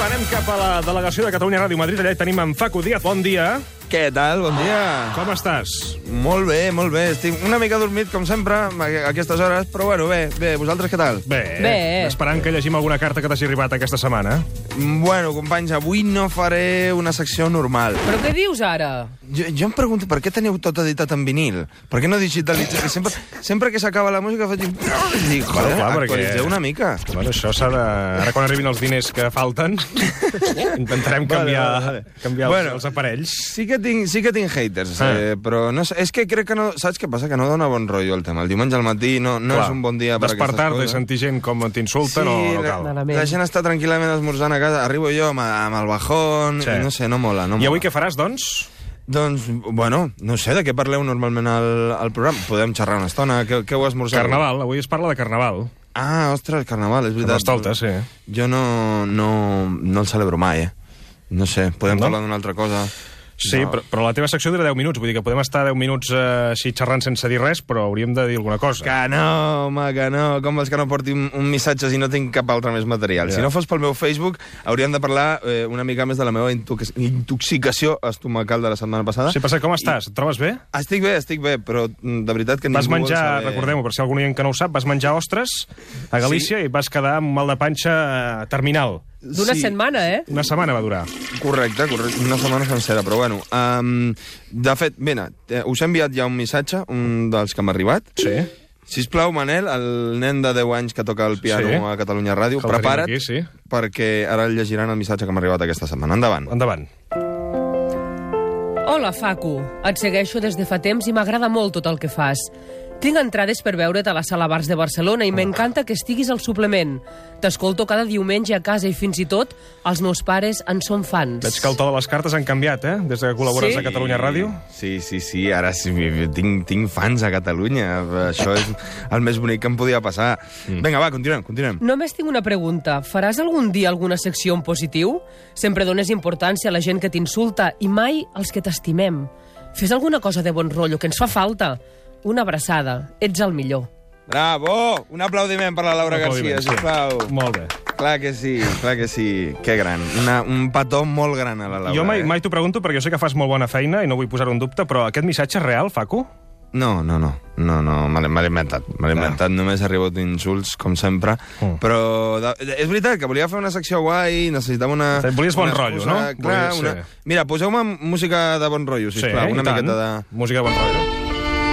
va, anem cap a la delegació de Catalunya Ràdio Madrid. Allà hi tenim en Facu Díaz. Bon dia. Què tal? Bon dia. Com estàs? Molt bé, molt bé. Estic una mica dormit, com sempre, a aquestes hores, però bueno, bé, bé. Vosaltres què tal? Bé. Bé. Esperant que llegim alguna carta que t'hagi arribat aquesta setmana. Bueno, companys, avui no faré una secció normal. Però què dius ara? Jo, jo em pregunto per què teniu tot editat en vinil? Per què no digitalitzeu? Sempre, sempre que s'acaba la música faig... un- I Dic, Bueno, joder, clar, perquè- actualitzeu una mica. Bueno, això s'ha de... Ara quan arribin els diners que falten, intentarem canviar, Vale, vale, vale. canviar els, Bueno. els aparells. Sí que tinc, sí que tinc haters, Ah. eh, però no, sé- és que crec que no... Saps què passa? Que no dona bon rotllo el tema. El diumenge al matí no, no és un bon dia per Despertar-te i aquestes coses. sentir gent com t'insulta, Sí, no, no la- cal. Malament. La gent està tranquil·lament esmorzant a casa. Arribo jo amb, amb el bajón, Sí. sí. no sé, no mola. No I avui mola. què faràs, doncs? Doncs, bueno, no sé de què parleu normalment al, al programa. Podem xerrar una estona. Què, què heu esmorzat? Carnaval, avui es parla de carnaval. Ah, ostres, carnaval, és veritat. Carnestoltes, sí. Jo no, no, no el celebro mai, eh? No sé, podem No? no? parlar d'una altra cosa. Sí, no. però, però la teva secció dura 10 minuts, vull dir que podem estar 10 minuts eh, així xerrant sense dir res, però hauríem de dir alguna cosa. Que no, home, que no. Com vols que no porti un, un missatge si no tinc cap altre més material? Ja. Si no fos pel meu Facebook, hauríem de parlar eh, una mica més de la meva intox- intoxicació estomacal de la setmana passada. Sí, passa, com estàs? Et trobes bé? Estic bé, estic bé, però mm, de veritat que Vas ningú vol menjar, saber... recordem-ho, per si algun oient que no ho sap, vas menjar ostres a Galícia sí. i vas quedar amb mal de panxa eh, terminal. D'una Sí. setmana, eh? Una setmana va durar. Correcte, correcte, una setmana sencera, però bueno. Um, de fet, mira, eh, us he enviat ja un missatge, un dels que m'ha arribat. Sí. Sisplau, Manel, el nen de 10 anys que toca el piano Sí. sí. a Catalunya Ràdio, Que el tenim prepara't, aquí, sí. perquè ara llegiran el missatge que m'ha arribat aquesta setmana. Endavant. Endavant. Hola, Facu. Et segueixo des de fa temps i m'agrada molt tot el que fas. Tinc entrades per veure't a la Sala Bars de Barcelona i m'encanta que estiguis al suplement. T'escolto cada diumenge a casa i fins i tot els meus pares en són fans. Veig que el to de les cartes han canviat, eh? Des que col·labores Sí. a Catalunya Ràdio. Sí, sí, sí, ara sí, tinc, tinc fans a Catalunya. Això és el més bonic que em podia passar. Mm. Vinga, va, continuem, continuem. Només tinc una pregunta. Faràs algun dia alguna secció en positiu? Sempre dones importància a la gent que t'insulta i mai als que t'estimem. Fes alguna cosa de bon rotllo, que ens fa falta. Una abraçada. Ets el millor. Bravo! Un aplaudiment per la Laura Un aplaudiment, Garcia, sí. sisplau. Molt bé. Clar que sí, clar que sí. Que gran. Una, un petó molt gran a la Laura. jo mai, eh? mai t'ho pregunto perquè jo sé que fas molt bona feina i no vull posar-ho en dubte, però aquest missatge és real, Facu? No, no, no, no, no me l'he me l'he inventat, me l'he inventat, només ha arribat insults, com sempre, Mm. però de, de- és veritat que volia fer una secció guai, necessitava una... Volies bon una rotllo, excusa, no? Clar, Volies, una... sí. Mira, poseu-me música de bon rotllo, sisplau, i una tant. miqueta de... Música de bon rotllo.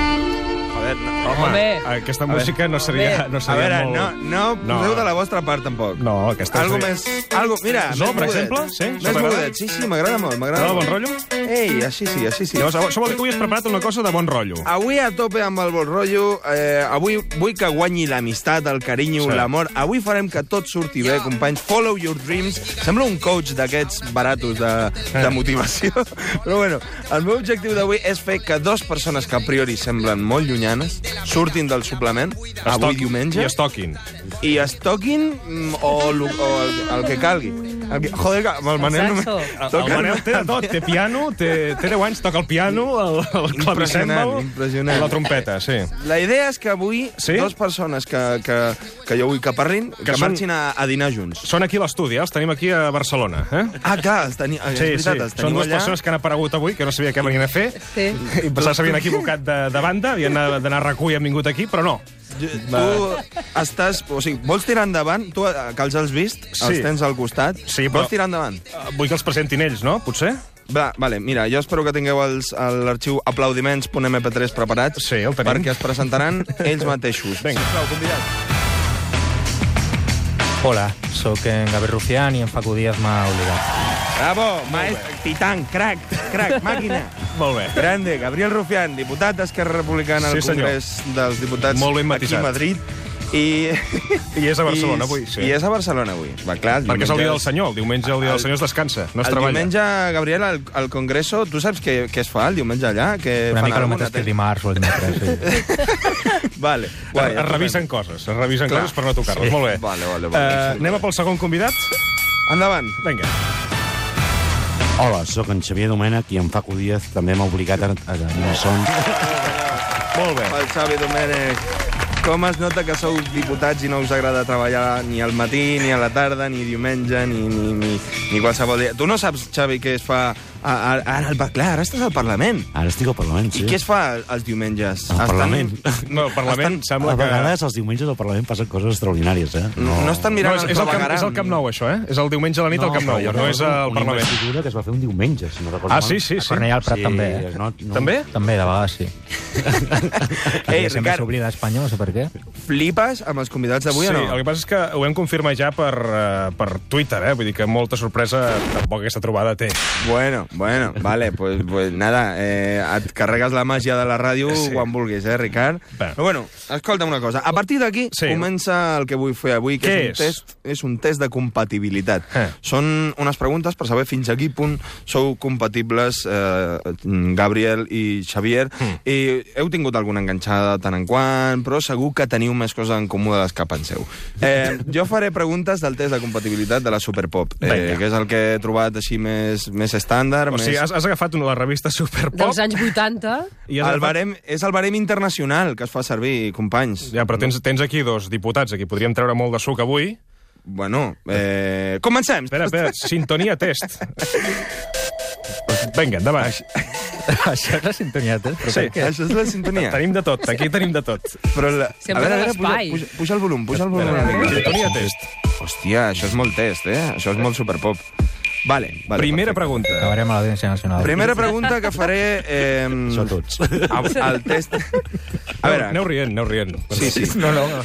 Joder, no, Home, eh, Bé. aquesta música no seria, Bé. no a seria veure, molt... no, no poseu de la vostra part, tampoc. No, aquesta Algo seria... més... Algo, mira, Zo, més per mogudet. exemple? Sí, Zo Més t'agrada? mogudet, sí, sí, m'agrada molt, m'agrada T'agrada el molt. bon rotllo? Ei, així sí, així sí. Llavors, això vol dir que avui has preparat una cosa de bon rotllo. Avui a tope amb el bon rotllo, eh, avui vull que guanyi l'amistat, el carinyo, Sí. sí. l'amor. Avui farem que tot surti bé, companys. Follow your dreams. Sembla un coach d'aquests baratos de, Eh. de motivació. Però bueno, el meu objectiu d'avui és fer que dues persones que a priori semblen molt llunyanes surtin del suplement Es avui toquin, diumenge I es toquin. i es toquin mm, o, lo- o el, el que calgui. El que, joder, que amb el eh, Manel... Saxo. El, Ah, el Toquen- Manel té de tot, té piano, té, té 10 anys, toca el piano, el, el clavicèmbal, impressionant. la trompeta, sí. La idea és que avui Sí? sí? dues persones que, que, que jo vull que parlin, que, que són- marxin a, a dinar junts. Són aquí a l'estudi, eh? els tenim aquí a Barcelona. Eh? Ah, clar, els teni... sí, és veritat, els Són teniu dues allà. persones que han aparegut avui, que no sabia què venien a fer. Sí. I pensava s'havien equivocat de, de banda, havien d'anar d'anar a RAC1 i han vingut aquí, però no. Jo- Tu estàs... O sigui, vols tirar endavant? Tu, eh, que els has vist, Sí. els tens al costat. Sí, però- Vols tirar endavant? Eh, Vull que els presentin ells, no? Potser? Va, vale, mira, jo espero que tingueu els- a l'arxiu aplaudiments.mp3 preparats Sí, el tenim. perquè es presentaran ells mateixos. Vinga. Sisplau, convidats. Hola, sóc en Gabriel Rufián i en Facu Díaz m'ha oblidat. Bravo, maestro, titán, crac, crac, màquina. Molt bé. Grande, Gabriel Rufián, diputat d'Esquerra Republicana al Sí, senyor. Congrés dels Diputats Molt ben aquí matisat. a Madrid. I... I és a Barcelona avui, sí. Sí. I és a Barcelona avui. Va, clar, Perquè és el dia del diumenge- senyor, el diumenge el dia del El- senyor es descansa, no es el treballa. diumenge, Gabriel, al, al Congreso, tu saps què, què es fa el diumenge allà? Que Una fan mica el alguna mateix que te- el dimarts o el dimecres. Sí. Vale, Es, guai. es revisen coses, es revisen Clar. coses per no tocar-les. Sí. Molt bé. Vale, vale, vale. Eh, anem a pel segon convidat? Endavant. Vinga. Hola, sóc en Xavier Domènech i en Facu Díaz també m'ha obligat a, a, a, a, a, a, a, a, a Molt bé. Pel Xavi Domènech. Com es nota que sou diputats i no us agrada treballar ni al matí, ni a la tarda, ni diumenge, ni, ni, ni, ni qualsevol dia. Tu no saps, Xavi, què es fa... A, a, ara, al, clar, ara estàs al Parlament. Ara estic al Parlament, sí. I què es fa els diumenges? Al Parlament. No, el Parlament Estan- sembla a que... vegades els diumenges al Parlament passen coses extraordinàries, eh? No, no estan No, mirant és, és, el camp, clavegueram. és el Camp Nou, això, eh? És el diumenge a la nit al Camp Nou, jo no és recordo al una Parlament. investidura que es va fer un diumenge, si no recordo Ah, mal. sí, sí, A sí. Cornellà al Prat Sí, també. es Eh? No, no. També? També, de vegades, sí. Ei, Perquè sempre Ricard. s'oblida Espanya, no sé per què. Flipes amb els convidats d'avui sí, o no? el que passa és que ho hem confirmat ja per, eh, per Twitter, eh? Vull dir que molta sorpresa tampoc aquesta trobada té. Bueno, bueno, vale, pues, pues nada, eh, et carregues la màgia de la ràdio sí. quan vulguis, eh, Ricard? Va. Però bueno, escolta'm una cosa, a partir d'aquí Sí. sí. comença el que vull fer avui, que Què és un, és? Test, és un test de compatibilitat. Eh. Són unes preguntes per saber fins a quin punt sou compatibles eh, Gabriel i Xavier, Hmm. mm. i heu tingut alguna enganxada de tant en quant, però segur que teniu més coses en comú de les que penseu. Eh, jo faré preguntes del test de compatibilitat de la Superpop, eh, Vinga. que és el que he trobat així més, més estàndard, O sigui, més... has, has agafat una, la revista Superpop... Dels anys 80... i has el agafat- barem, és el barem internacional que es fa servir, companys. Ja, però tens, tens aquí dos diputats, aquí podríem treure molt de suc avui. Bueno, eh, comencem! Espera, espera, sintonia test. Vinga, endavant. Això és la sintonia, eh? Però Sí. per què? Això és la sintonia. Tenim de tot, aquí tenim de tot. Però la... Sempre de puja, l'espai. eh? puja, puja el volum, puja el volum. una mica. Sintonia test. Hòstia, això és molt test, eh? Això és molt superpop. Vale, vale. Primera perfecte. pregunta. Acabarem a l'Audiència Nacional. Primera pregunta que faré... Eh, Això tots. Al, al test... A veure, Aneu rient, aneu rient. Sí, sí. No, no, no,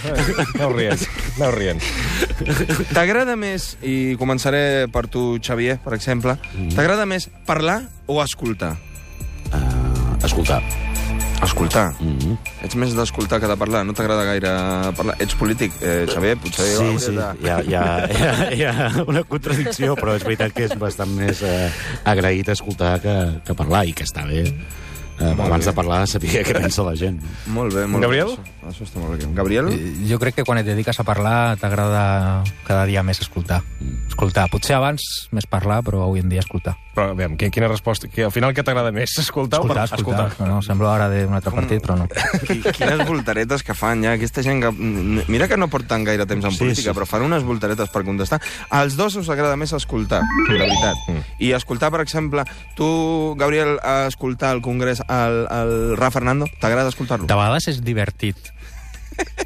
aneu rient, aneu rient. t'agrada més, i començaré per tu, Xavier, per exemple, t'agrada més parlar o escoltar? Uh, escolta, Escoltar. mm -hmm. Mhm. Ets més d'escoltar que de parlar, no t'agrada gaire parlar. Ets polític, eh, Xavier, potser... Sí, hauries sí, de- hi ha, hi, ha, hi, ha, hi ha una contradicció, però és veritat que és bastant més eh, agraït escoltar que, que parlar, i que està bé. Eh, abans de parlar, saber què pensa la gent. Molt bé, molt Gabriel? bé. Això, això està molt bé. Gabriel? Eh, Jo crec que quan et dediques a parlar t'agrada cada dia més escoltar. Escoltar. Potser abans més parlar, però avui en dia escoltar. Però, aviam, qui- quina resposta? Que, al final, què t'agrada més? Escoltar, o Escoltar, parlar? escoltar. No, no, sembla ara d'un altre partit, però no. Qui- Quines voltaretes que fan, ja. Aquesta gent que... mm, Mira que no porten gaire temps en Sí, política, sí. però fan unes voltaretes per contestar. Als dos us agrada més escoltar, de veritat. Mm. I escoltar, per exemple, tu, Gabriel, a escoltar al Congrés el, el Ra Fernando, t'agrada escoltar-lo? De vegades és divertit.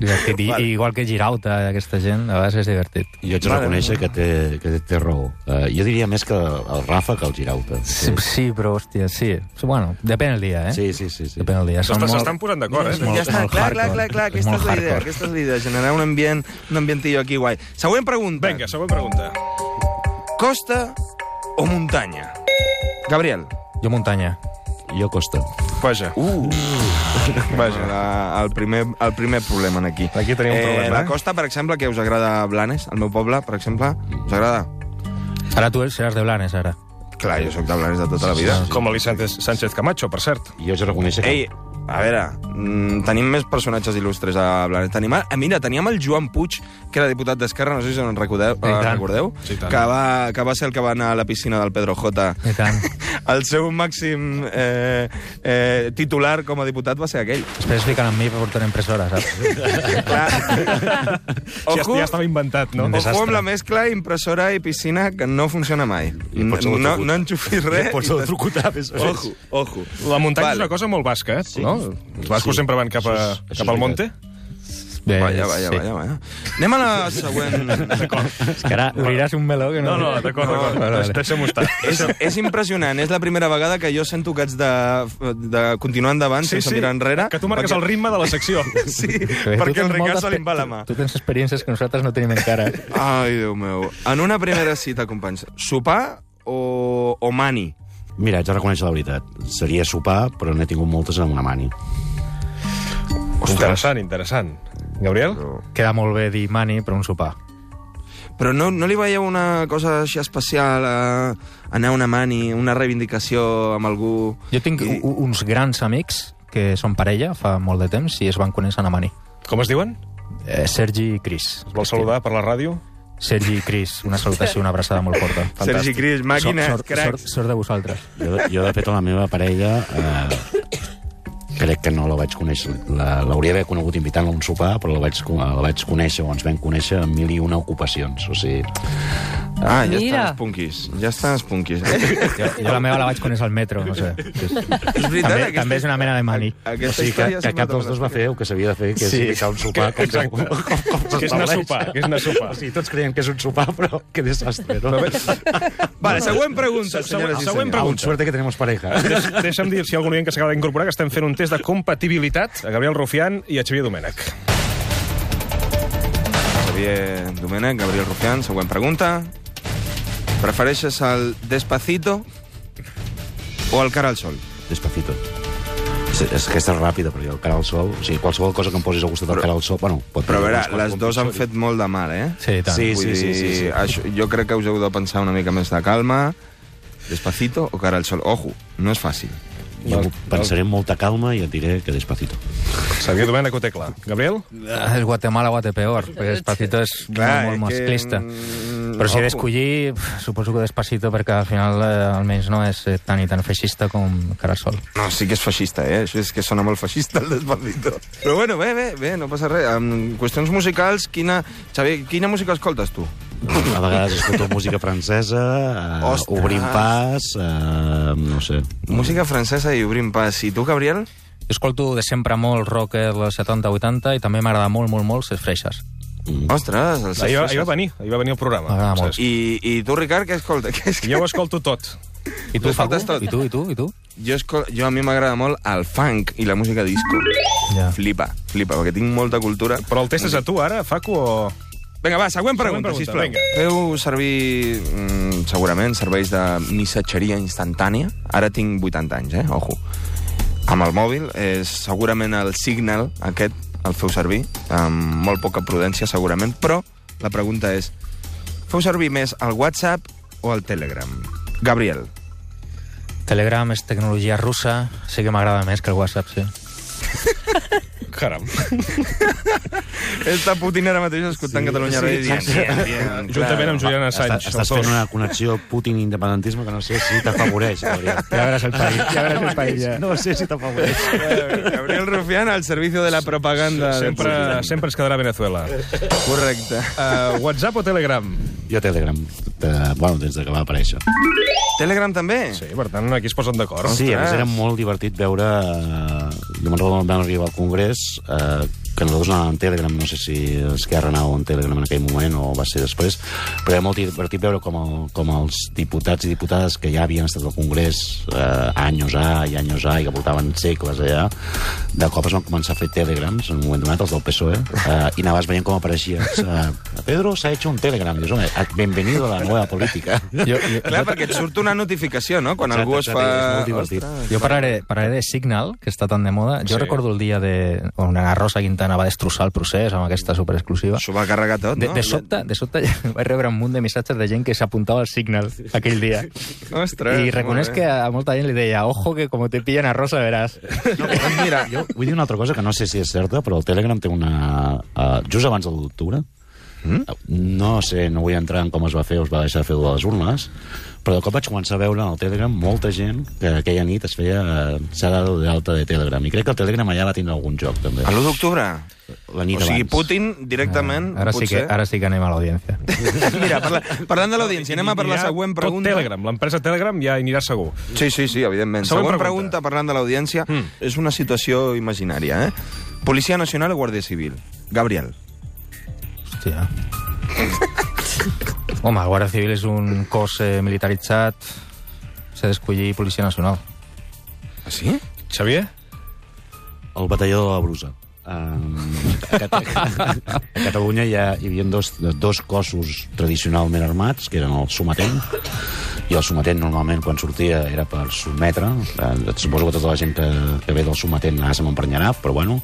Divertit. I, i igual que Girauta, aquesta gent, de vegades és divertit. Jo haig de Vale. reconèixer que té, que té, té raó. Uh, jo diria més que el Rafa que el Girauta. Sí, sí però, hòstia, sí. Sí, Bueno, depèn el dia, eh? sí, sí. sí, sí. Depèn el dia. Són S'està- molt- S'estan posant d'acord, eh? molt- ja està, clar, hardcore, clar, clar, clar, és aquesta és, molt la idea, hardcore. aquesta és la idea, generar un ambient, un ambientillo aquí guai. Següent pregunta. Vinga, següent pregunta. Costa o muntanya? Gabriel. Jo muntanya. Jo costa. Vaja. Uh. Vaja, la, el, primer, el primer problema en aquí. Aquí tenim un problema, eh? La costa, per exemple, que us agrada Blanes, el meu poble, per exemple, us agrada? Ara tu seràs de Blanes, ara. Clar, jo sóc de Blanes de tota la vida. Com Elis Sánchez, Sánchez Camacho, per cert. Jo haig de reconèixer que... Ei, a veure, mm, tenim més personatges il·lustres a Blanes. Tenim, a, mira, teníem el Joan Puig, que era diputat d'Esquerra, no sé si en recordeu, I tant. eh, recordeu Sí, tant. que, va, que va ser el que va anar a la piscina del Pedro J. I tant. El seu màxim eh, eh, titular com a diputat va ser aquell. Després es fiquen amb mi per portar una impressora, saps? Clar. Ja, Ojo, ja estava inventat, no? Un Ojo desastre. amb la mescla impressora i piscina que no funciona mai. I pots No, haver no, trucut. no enxufis res. Pots i haver t'es- trucut a més. Ojo, ojo. La muntanya és Vale. una cosa molt basca, eh? Sí. No? Els bascos Sí. sempre van cap, a, Això és- això cap al és monte. Bé, Vaja, vaja, vaja, vaja. Anem a la següent. És que ara obriràs un meló que no... d'acord, d'acord. Vale, vale. Deixa'm estar. És, és impressionant, és la primera vegada que jo sento que haig de, de continuar endavant sí, sense mirar enrere. que tu marques el ritme de la secció. Sí, Bé, tu perquè el tens Ricard moltes se li va la pe- mà. Tu tens experiències que nosaltres no tenim encara. Ai, Déu meu. En una primera cita, companys, sopar o, o mani? Mira, haig de reconèixer la veritat. Seria sopar, però n'he tingut moltes amb una mani. Interessant, interessant. Gabriel? Queda molt bé dir mani, però un sopar. Però no, no li veieu una cosa així especial a anar a una mani, una reivindicació amb algú... Jo tinc I- u- uns grans amics que són parella fa molt de temps i es van conèixer a la mani. Com es diuen? Eh, Sergi i Cris. Es vol saludar per la ràdio? Sergi i Cris, una salutació, una abraçada molt forta. Sergi Cris, màquina, sort, crac. sort, sort de vosaltres. Jo, jo de fet, a la meva parella... Eh, crec que no la vaig conèixer. La- L'hauria d'haver conegut invitant-la a un sopar, però la vaig, co- la vaig conèixer o ens vam conèixer en mil i una ocupacions. O sigui, Ah, ja Mira. estan els punquis. Ja estan els punquis. Jo, jo la meva la vaig conèixer al metro, no sé. és veritat, També, aquesta- també és una mena de mani. o Aquesta sigui que, història que sembla cap dels dos va fer el que s'havia de fer, que és Sí. invitar a un sopar. Com, Exacte. com, com, com Que és anar a s'estableix. sopar, que és anar a sopar. O sigui, tots creiem que és un sopar, però que desastre, no? Vale, següent pregunta, Següent- senyores i següent senyors. Amb suerte que tenemos pareja. Deix- Deixa'm dir, si hi ha algun oient que s'acaba d'incorporar, que estem fent un test de compatibilitat a Gabriel Rufián i a Xavier Domènech. Xavier Domènech, Gabriel Rufián, següent pregunta. Prefereixes el Despacito o el Cara al Sol? Despacito. És, és que és ràpida, perquè el cara al sol... O sigui, qualsevol cosa que em posis al costat del cara al sol... Bueno, pot Però a veure, unes coses les com dues han pitjor. fet molt de mal, eh? Sí, i tant. Sí, Vull sí, sí, dir, sí, sí. Això, jo crec que us heu de pensar una mica més de calma. Despacito o Cara al Sol? Ojo, no és fàcil. Jo m'ho pensaré amb molta calma i et diré que despacito. Xavier Domènech ho té clar. Gabriel? Ah, És Guatemala, Guatepeor. perquè Despacito és Clar, molt, molt és que- masclista. mm, Però si he ojo. d'escollir, pf, suposo que Despacito, perquè al final eh, almenys no és eh, tan i tan feixista com Carasol. No, sí que és feixista, eh? Això és que sona molt feixista, el Despacito. Però bueno, bé, bé, bé, no passa res. En qüestions musicals, quina... Xavier, quina música escoltes tu? A vegades escolto música francesa, eh, Ostres. obrint pas, eh, no sé. Música francesa i obrim pas. I tu, Gabriel? Jo escolto de sempre molt eh, rock dels 70-80 i també m'agrada molt, molt, molt ses freixes. Mm. Ostres, els Ahir va, francesos. ahir va venir, ahir va venir al programa. Ho M'agrada Ah, molt. saps? I, I tu, Ricard, què escolta? Què és que... Jo ho escolto tot. Ho I tu, Facu? escoltes tot. I tu, i tu, i tu? Jo, escol... jo a mi m'agrada molt el funk i la música disco. Ja. Flipa, flipa, perquè tinc molta cultura. Però el test és a tu, ara, Facu, o... Vinga, va, següent pregunta, pregunta, sisplau. vinga. Feu servir, mm, segurament, serveis de missatgeria instantània. Ara tinc 80 anys, eh? Ojo. Amb el mòbil, és segurament el Signal, aquest, el feu servir, amb molt poca prudència, segurament, però la pregunta és, feu servir més el WhatsApp o el Telegram? Gabriel. Telegram és tecnologia russa, sí que m'agrada més que el WhatsApp, sí. Caram. Està Putin ara mateix escoltant sí, Catalunya sí, Ràdio. dient, "Bien, bien", Juntament clar. amb Julian Assange. Estàs, estàs els dos. fent una connexió Putin-independentisme que no sé si t'afavoreix, Gabriel. Ja veuràs el país, ja veuràs el país, ja. No sé si t'afavoreix. Gabriel Rufián al servicio de Eh, la propaganda. del Sempre, Putin. sempre ens quedarà Venezuela. Correcte. Uh, WhatsApp o Telegram? Jo Telegram, de, bueno, des de que va aparèixer. Telegram també? Sí, per tant, aquí es posen d'acord. Sí, a més Ostres. era molt divertit veure... eh, Jo me'n recordo quan vam arribar al Congrés, eh, que nosaltres anàvem en Telegram, no sé si Esquerra anava en Telegram en aquell moment o va ser després, però era molt divertit veure com, el, com els diputats i diputades que ja havien estat al Congrés eh, anys A i anys A i que portaven segles allà, de cop es van començar a fer telegrams, en un moment donat, els del PSOE, eh, i anaves veient com apareixia. Eh, Pedro s'ha hecho un telegram. Dius, home, bienvenido a la nueva política. Jo, jo, Clar, perquè et surt una notificació, no? Quan Exacte, algú es exacte, fa... és molt divertit. Ostres. jo parlaré, parlaré de Signal, que està tan de moda. Jo Sí. sí. recordo el dia de, on la Rosa Quintana va destrossar el procés amb aquesta superexclusiva. S'ho va carregar tot, De, no? de sobte, de sobte vaig rebre un munt de missatges de gent que s'apuntava al Signal aquell dia. Ostres, I reconeix molt que bé. a molta gent li deia ojo que com te pillen a Rosa veràs. Mira, Jo vull dir una altra cosa que no sé si és certa, però el Telegram té una... Uh, just abans de l'octubre, mm? no sé, no vull entrar en com es va fer o es va deixar de fer de les urnes, però de cop vaig començar a veure en el Telegram molta gent que aquella nit es feia... eh, s'ha dado de alta de Telegram. I crec que el Telegram allà va tindre algun joc, també. a l'1 d'octubre. La nit O sigui, abans. Putin directament, Ah, Ara sí, que, potser... ara sí que anem a l'audiència. Mira, parla, parlant de l'audiència, anem a per la Anirà següent pregunta. Tot Telegram, l'empresa Telegram ja hi anirà segur. Sí, sí, sí, evidentment. Següent Següent, pregunta. pregunta. parlant de l'audiència, Mm. és una situació imaginària, eh? Policia Nacional o Guàrdia Civil? Gabriel. Hòstia. Home, el Guàrdia Civil és un cos eh, militaritzat, s'ha d'escollir Policia Nacional. Ah, sí? Xavier? El batalló de la brusa. Um, a, Cata- a Catalunya hi, ha, hi havia dos, dos cossos tradicionalment armats, que eren el sometent, i el sometent normalment quan sortia era per sotmetre, Eh, suposo que tota la gent que, que ve del sometent ara se m'emprenyarà, però bueno,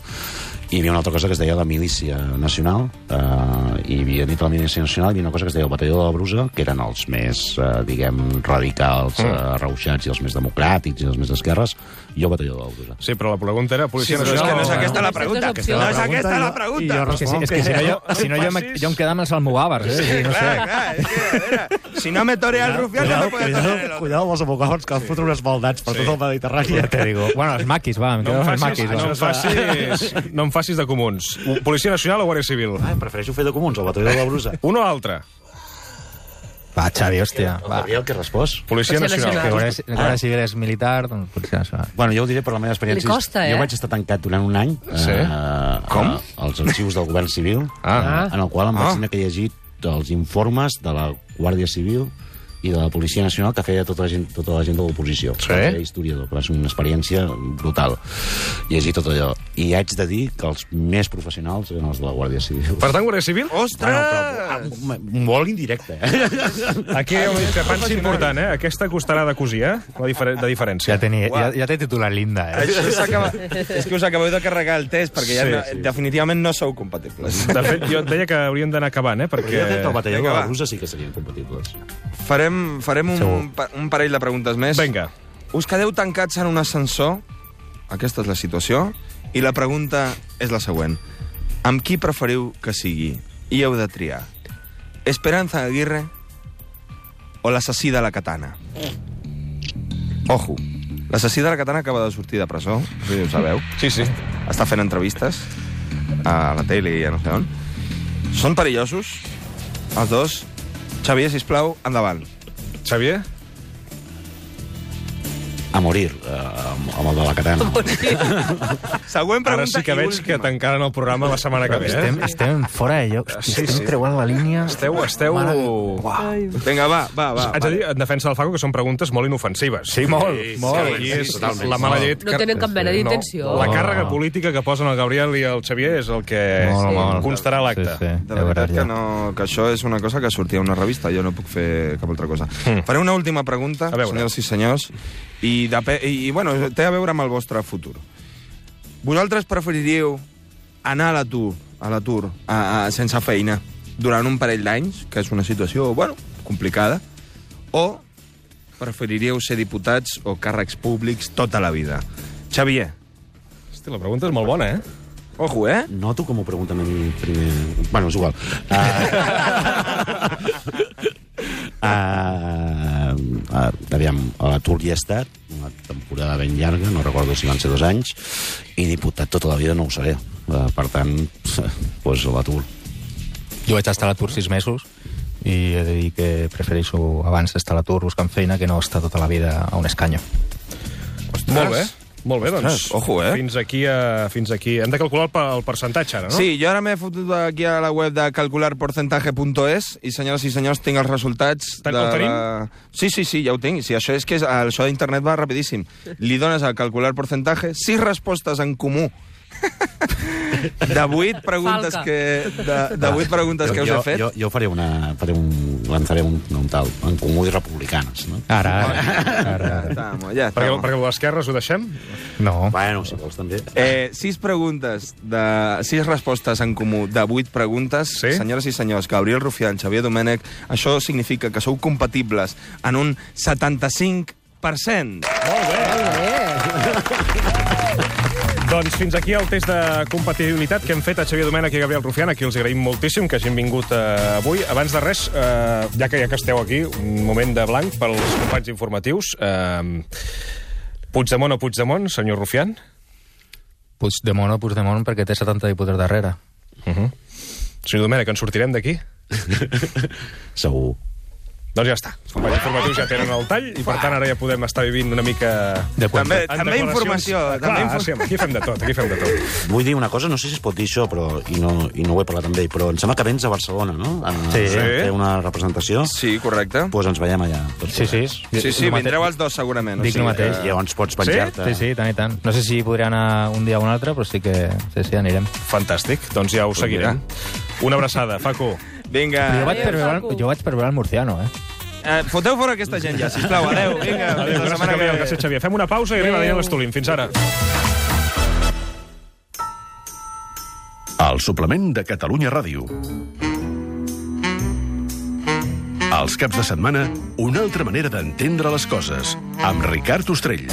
i hi havia una altra cosa que es deia la milícia nacional, eh, i hi havia dit la milícia nacional, hi havia una cosa que es deia el batalló de la brusa, que eren els més, eh, diguem, radicals, eh, reuixats, i els més democràtics, i els més d'esquerres, i el batalló de la brusa. Sí, però la pregunta era policia Sí, però és nacional. que no és o- aquesta la Aquestes pregunta. opcions. No és aquesta la I pregunta. jo Però és que, si, és que si no, jo, si no jo, me, jo em quedava amb els almogàvers, eh? Sí, no sé. Clar, clar, és que, a veure, si no me torea el rufián, no me puede torear el Cuidado, otro. cuidado amb els abogats, que els fotre unes maldats per tot el Mediterrani. Ja te digo. Bueno, els maquis, va, em No quedo em amb els facis, maquis. no em va. facis, no em facis de comuns. Policia Nacional o Guàrdia Civil? Ah, prefereixo fer de comuns, el batalló de la brusa. Un o l'altre? eh? Va, Xavi, hòstia. Va. Va. Gabriel, que respost? Policia Policia Nacional. Que Nacional. Guàrdia, la Guàrdia Civil és militar, doncs potser nacional. Bueno, jo ho diré per la meva experiència. Li costa, eh? Jo vaig estar tancat durant un any Sí? eh, Com? A, als arxius del govern civil, Ah. en el qual em vaig Ah. ah. que llegir els informes de la Guàrdia Civil i de la Policia Nacional que feia tota la gent, tota la gent de l'oposició. Sí? Era historiador, però és una experiència brutal. Llegir tot allò. I haig de dir que els més professionals eren els de la Guàrdia Civil. Per tant, Guàrdia Civil? Bueno, Ostres! però, ah, molt indirecte, eh? Aquí hi ha una discrepància important, eh? Aquesta costarà de cosir, eh? La difere- de diferència. Ja, tenia, ja, ja té titular linda, eh? Això s'acaba- És que us acabeu de carregar el test, perquè ja Sí, no, sí. definitivament no sou compatibles. De fet, jo et deia que hauríem d'anar acabant, eh? Perquè jo crec que el Perquè... batalló de Vinga, la va. Brusa sí que serien compatibles. Farem, farem un, Segur. pa- un parell de preguntes més. Vinga. Us quedeu tancats en un ascensor, aquesta és la situació, i la pregunta és la següent. Amb qui preferiu que sigui? I heu de triar. Esperanza Aguirre o l'assassí de la katana? Ojo, l'assassí de la katana acaba de sortir de presó, no sé si ho sabeu. Sí, sí. Està fent entrevistes a la tele i a no sé on. Són perillosos, els dos. Xavier, sisplau, endavant. Xavier? A morir, eh, amb, amb el de la katana. Següent Ara pregunta sí que i veig que última. tancaran el programa la setmana que ve, Estem, eh? estem fora de lloc. Hòstia, Sí, estem sí. creuant la línia. Esteu, esteu... Vinga, va, va, va. Haig de dir, en defensa del Faco, que són preguntes molt inofensives. Sí, molt, molt. Aquí és totalment. la mala llet... No que- tenen cap mena d'intenció. No. La Oh. càrrega política que posen el Gabriel i el Xavier és el que Molt, molt. constarà a l'acte. Sí, sí. De ja Eh, la veritat veuràs, que, ja. no, que això és una cosa que sortia a una revista, jo no puc fer cap altra cosa. Hmm. Faré una última pregunta, A veure. senyores i senyors, i, de, i, bueno, té a veure amb el vostre futur. Vosaltres preferiríeu anar a l'atur, a l'atur, a- a- sense feina, durant un parell d'anys, que és una situació, bueno, complicada, o preferiríeu ser diputats o càrrecs públics tota la vida? Xavier, Hosti, la pregunta és molt bona, eh? ojo, eh? Noto com ho pregunten a mi primer... Bueno, és igual. Eh, Uh, uh, eh, aviam, a l'atur hi he estat, una temporada ben llarga, no recordo si van ser dos anys, i diputat tota la vida no ho seré. Uh, per tant, pues, a l'atur. Jo vaig estar a l'atur sis mesos i he de dir que prefereixo abans estar a l'atur buscant feina que no estar tota la vida a un escanyo. Molt bé. Molt bé, doncs. Ostres, ojo, eh? Fins aquí, a, fins aquí. Hem de calcular el, pe- el percentatge, ara, no? Sí, jo ara m'he fotut aquí a la web de calcularporcentaje.es i senyores i senyors tinc els resultats. Te'n- de el tenim? La... Sí, sí, sí, ja ho tinc. Sí, això és que és, això d'internet va rapidíssim. Li dones a calcular porcentaje, sis respostes en comú de vuit preguntes Falca. que, de, de vuit preguntes que us he fet. Jo, jo faré una... Faré un, lançaré un, un tal, en comú i republicanes, no? Ara, ara, ara. Ja estamos, ja Perquè, estamos. perquè l'esquerra ho deixem? No. Bueno, si vols també. Eh, sis preguntes, de, sis respostes en comú de vuit preguntes. Sí? Senyores i senyors, Gabriel Rufián, Xavier Domènech, això significa que sou compatibles en un 75%. Doncs fins aquí el test de compatibilitat que hem fet a Xavier Domènech i Gabriel Rufián, a qui els agraïm moltíssim que hagin vingut eh, avui. Abans de res, eh, ja que ja que esteu aquí, un moment de blanc pels companys informatius. Eh, Puigdemont o Puigdemont, senyor Rufián? Puigdemont o Puigdemont perquè té 70 diputats darrere. Senyor Domènech, ens sortirem d'aquí? Segur. Doncs ja està. Els companys informatius ja tenen el tall i, per tant, ara ja podem estar vivint una mica... De quan? També, en també declaracions. informació. Ah, també Clar, infor- sí, aquí fem de tot, aquí fem de tot. Vull dir una cosa, no sé si es pot dir això, però, i no, i no ho he parlat amb ell, però em sembla que vens a Barcelona, no? A, Sí. Fer una representació. Sí. Sí, correcte. Doncs ens veiem allà. tots Sí, sí. Sí, sí, No mate- vindreu els dos segurament. Dic el mateix. plegats. I Eh, llavors pots penjar-te. Sí, sí, tant i tant. No sé si podré anar un dia o un altre, però sí que sí, sí, anirem. Fantàstic, doncs ja ho seguirem. Una abraçada, Facu. Vinga, Però jo vaig Adéu, per veure, Paco. jo vaig per veure el Murciano, eh? eh, foteu fora aquesta gent ja, sisplau. Adéu, vinga. fins la Adéu, gràcies, setmana que Gabriel, ve. gràcies, Xavier. Fem una pausa i arriba Daniel Estolín. Fins ara. El suplement de Catalunya Ràdio. Els caps de setmana, una altra manera d'entendre les coses, amb Ricard Ostrell.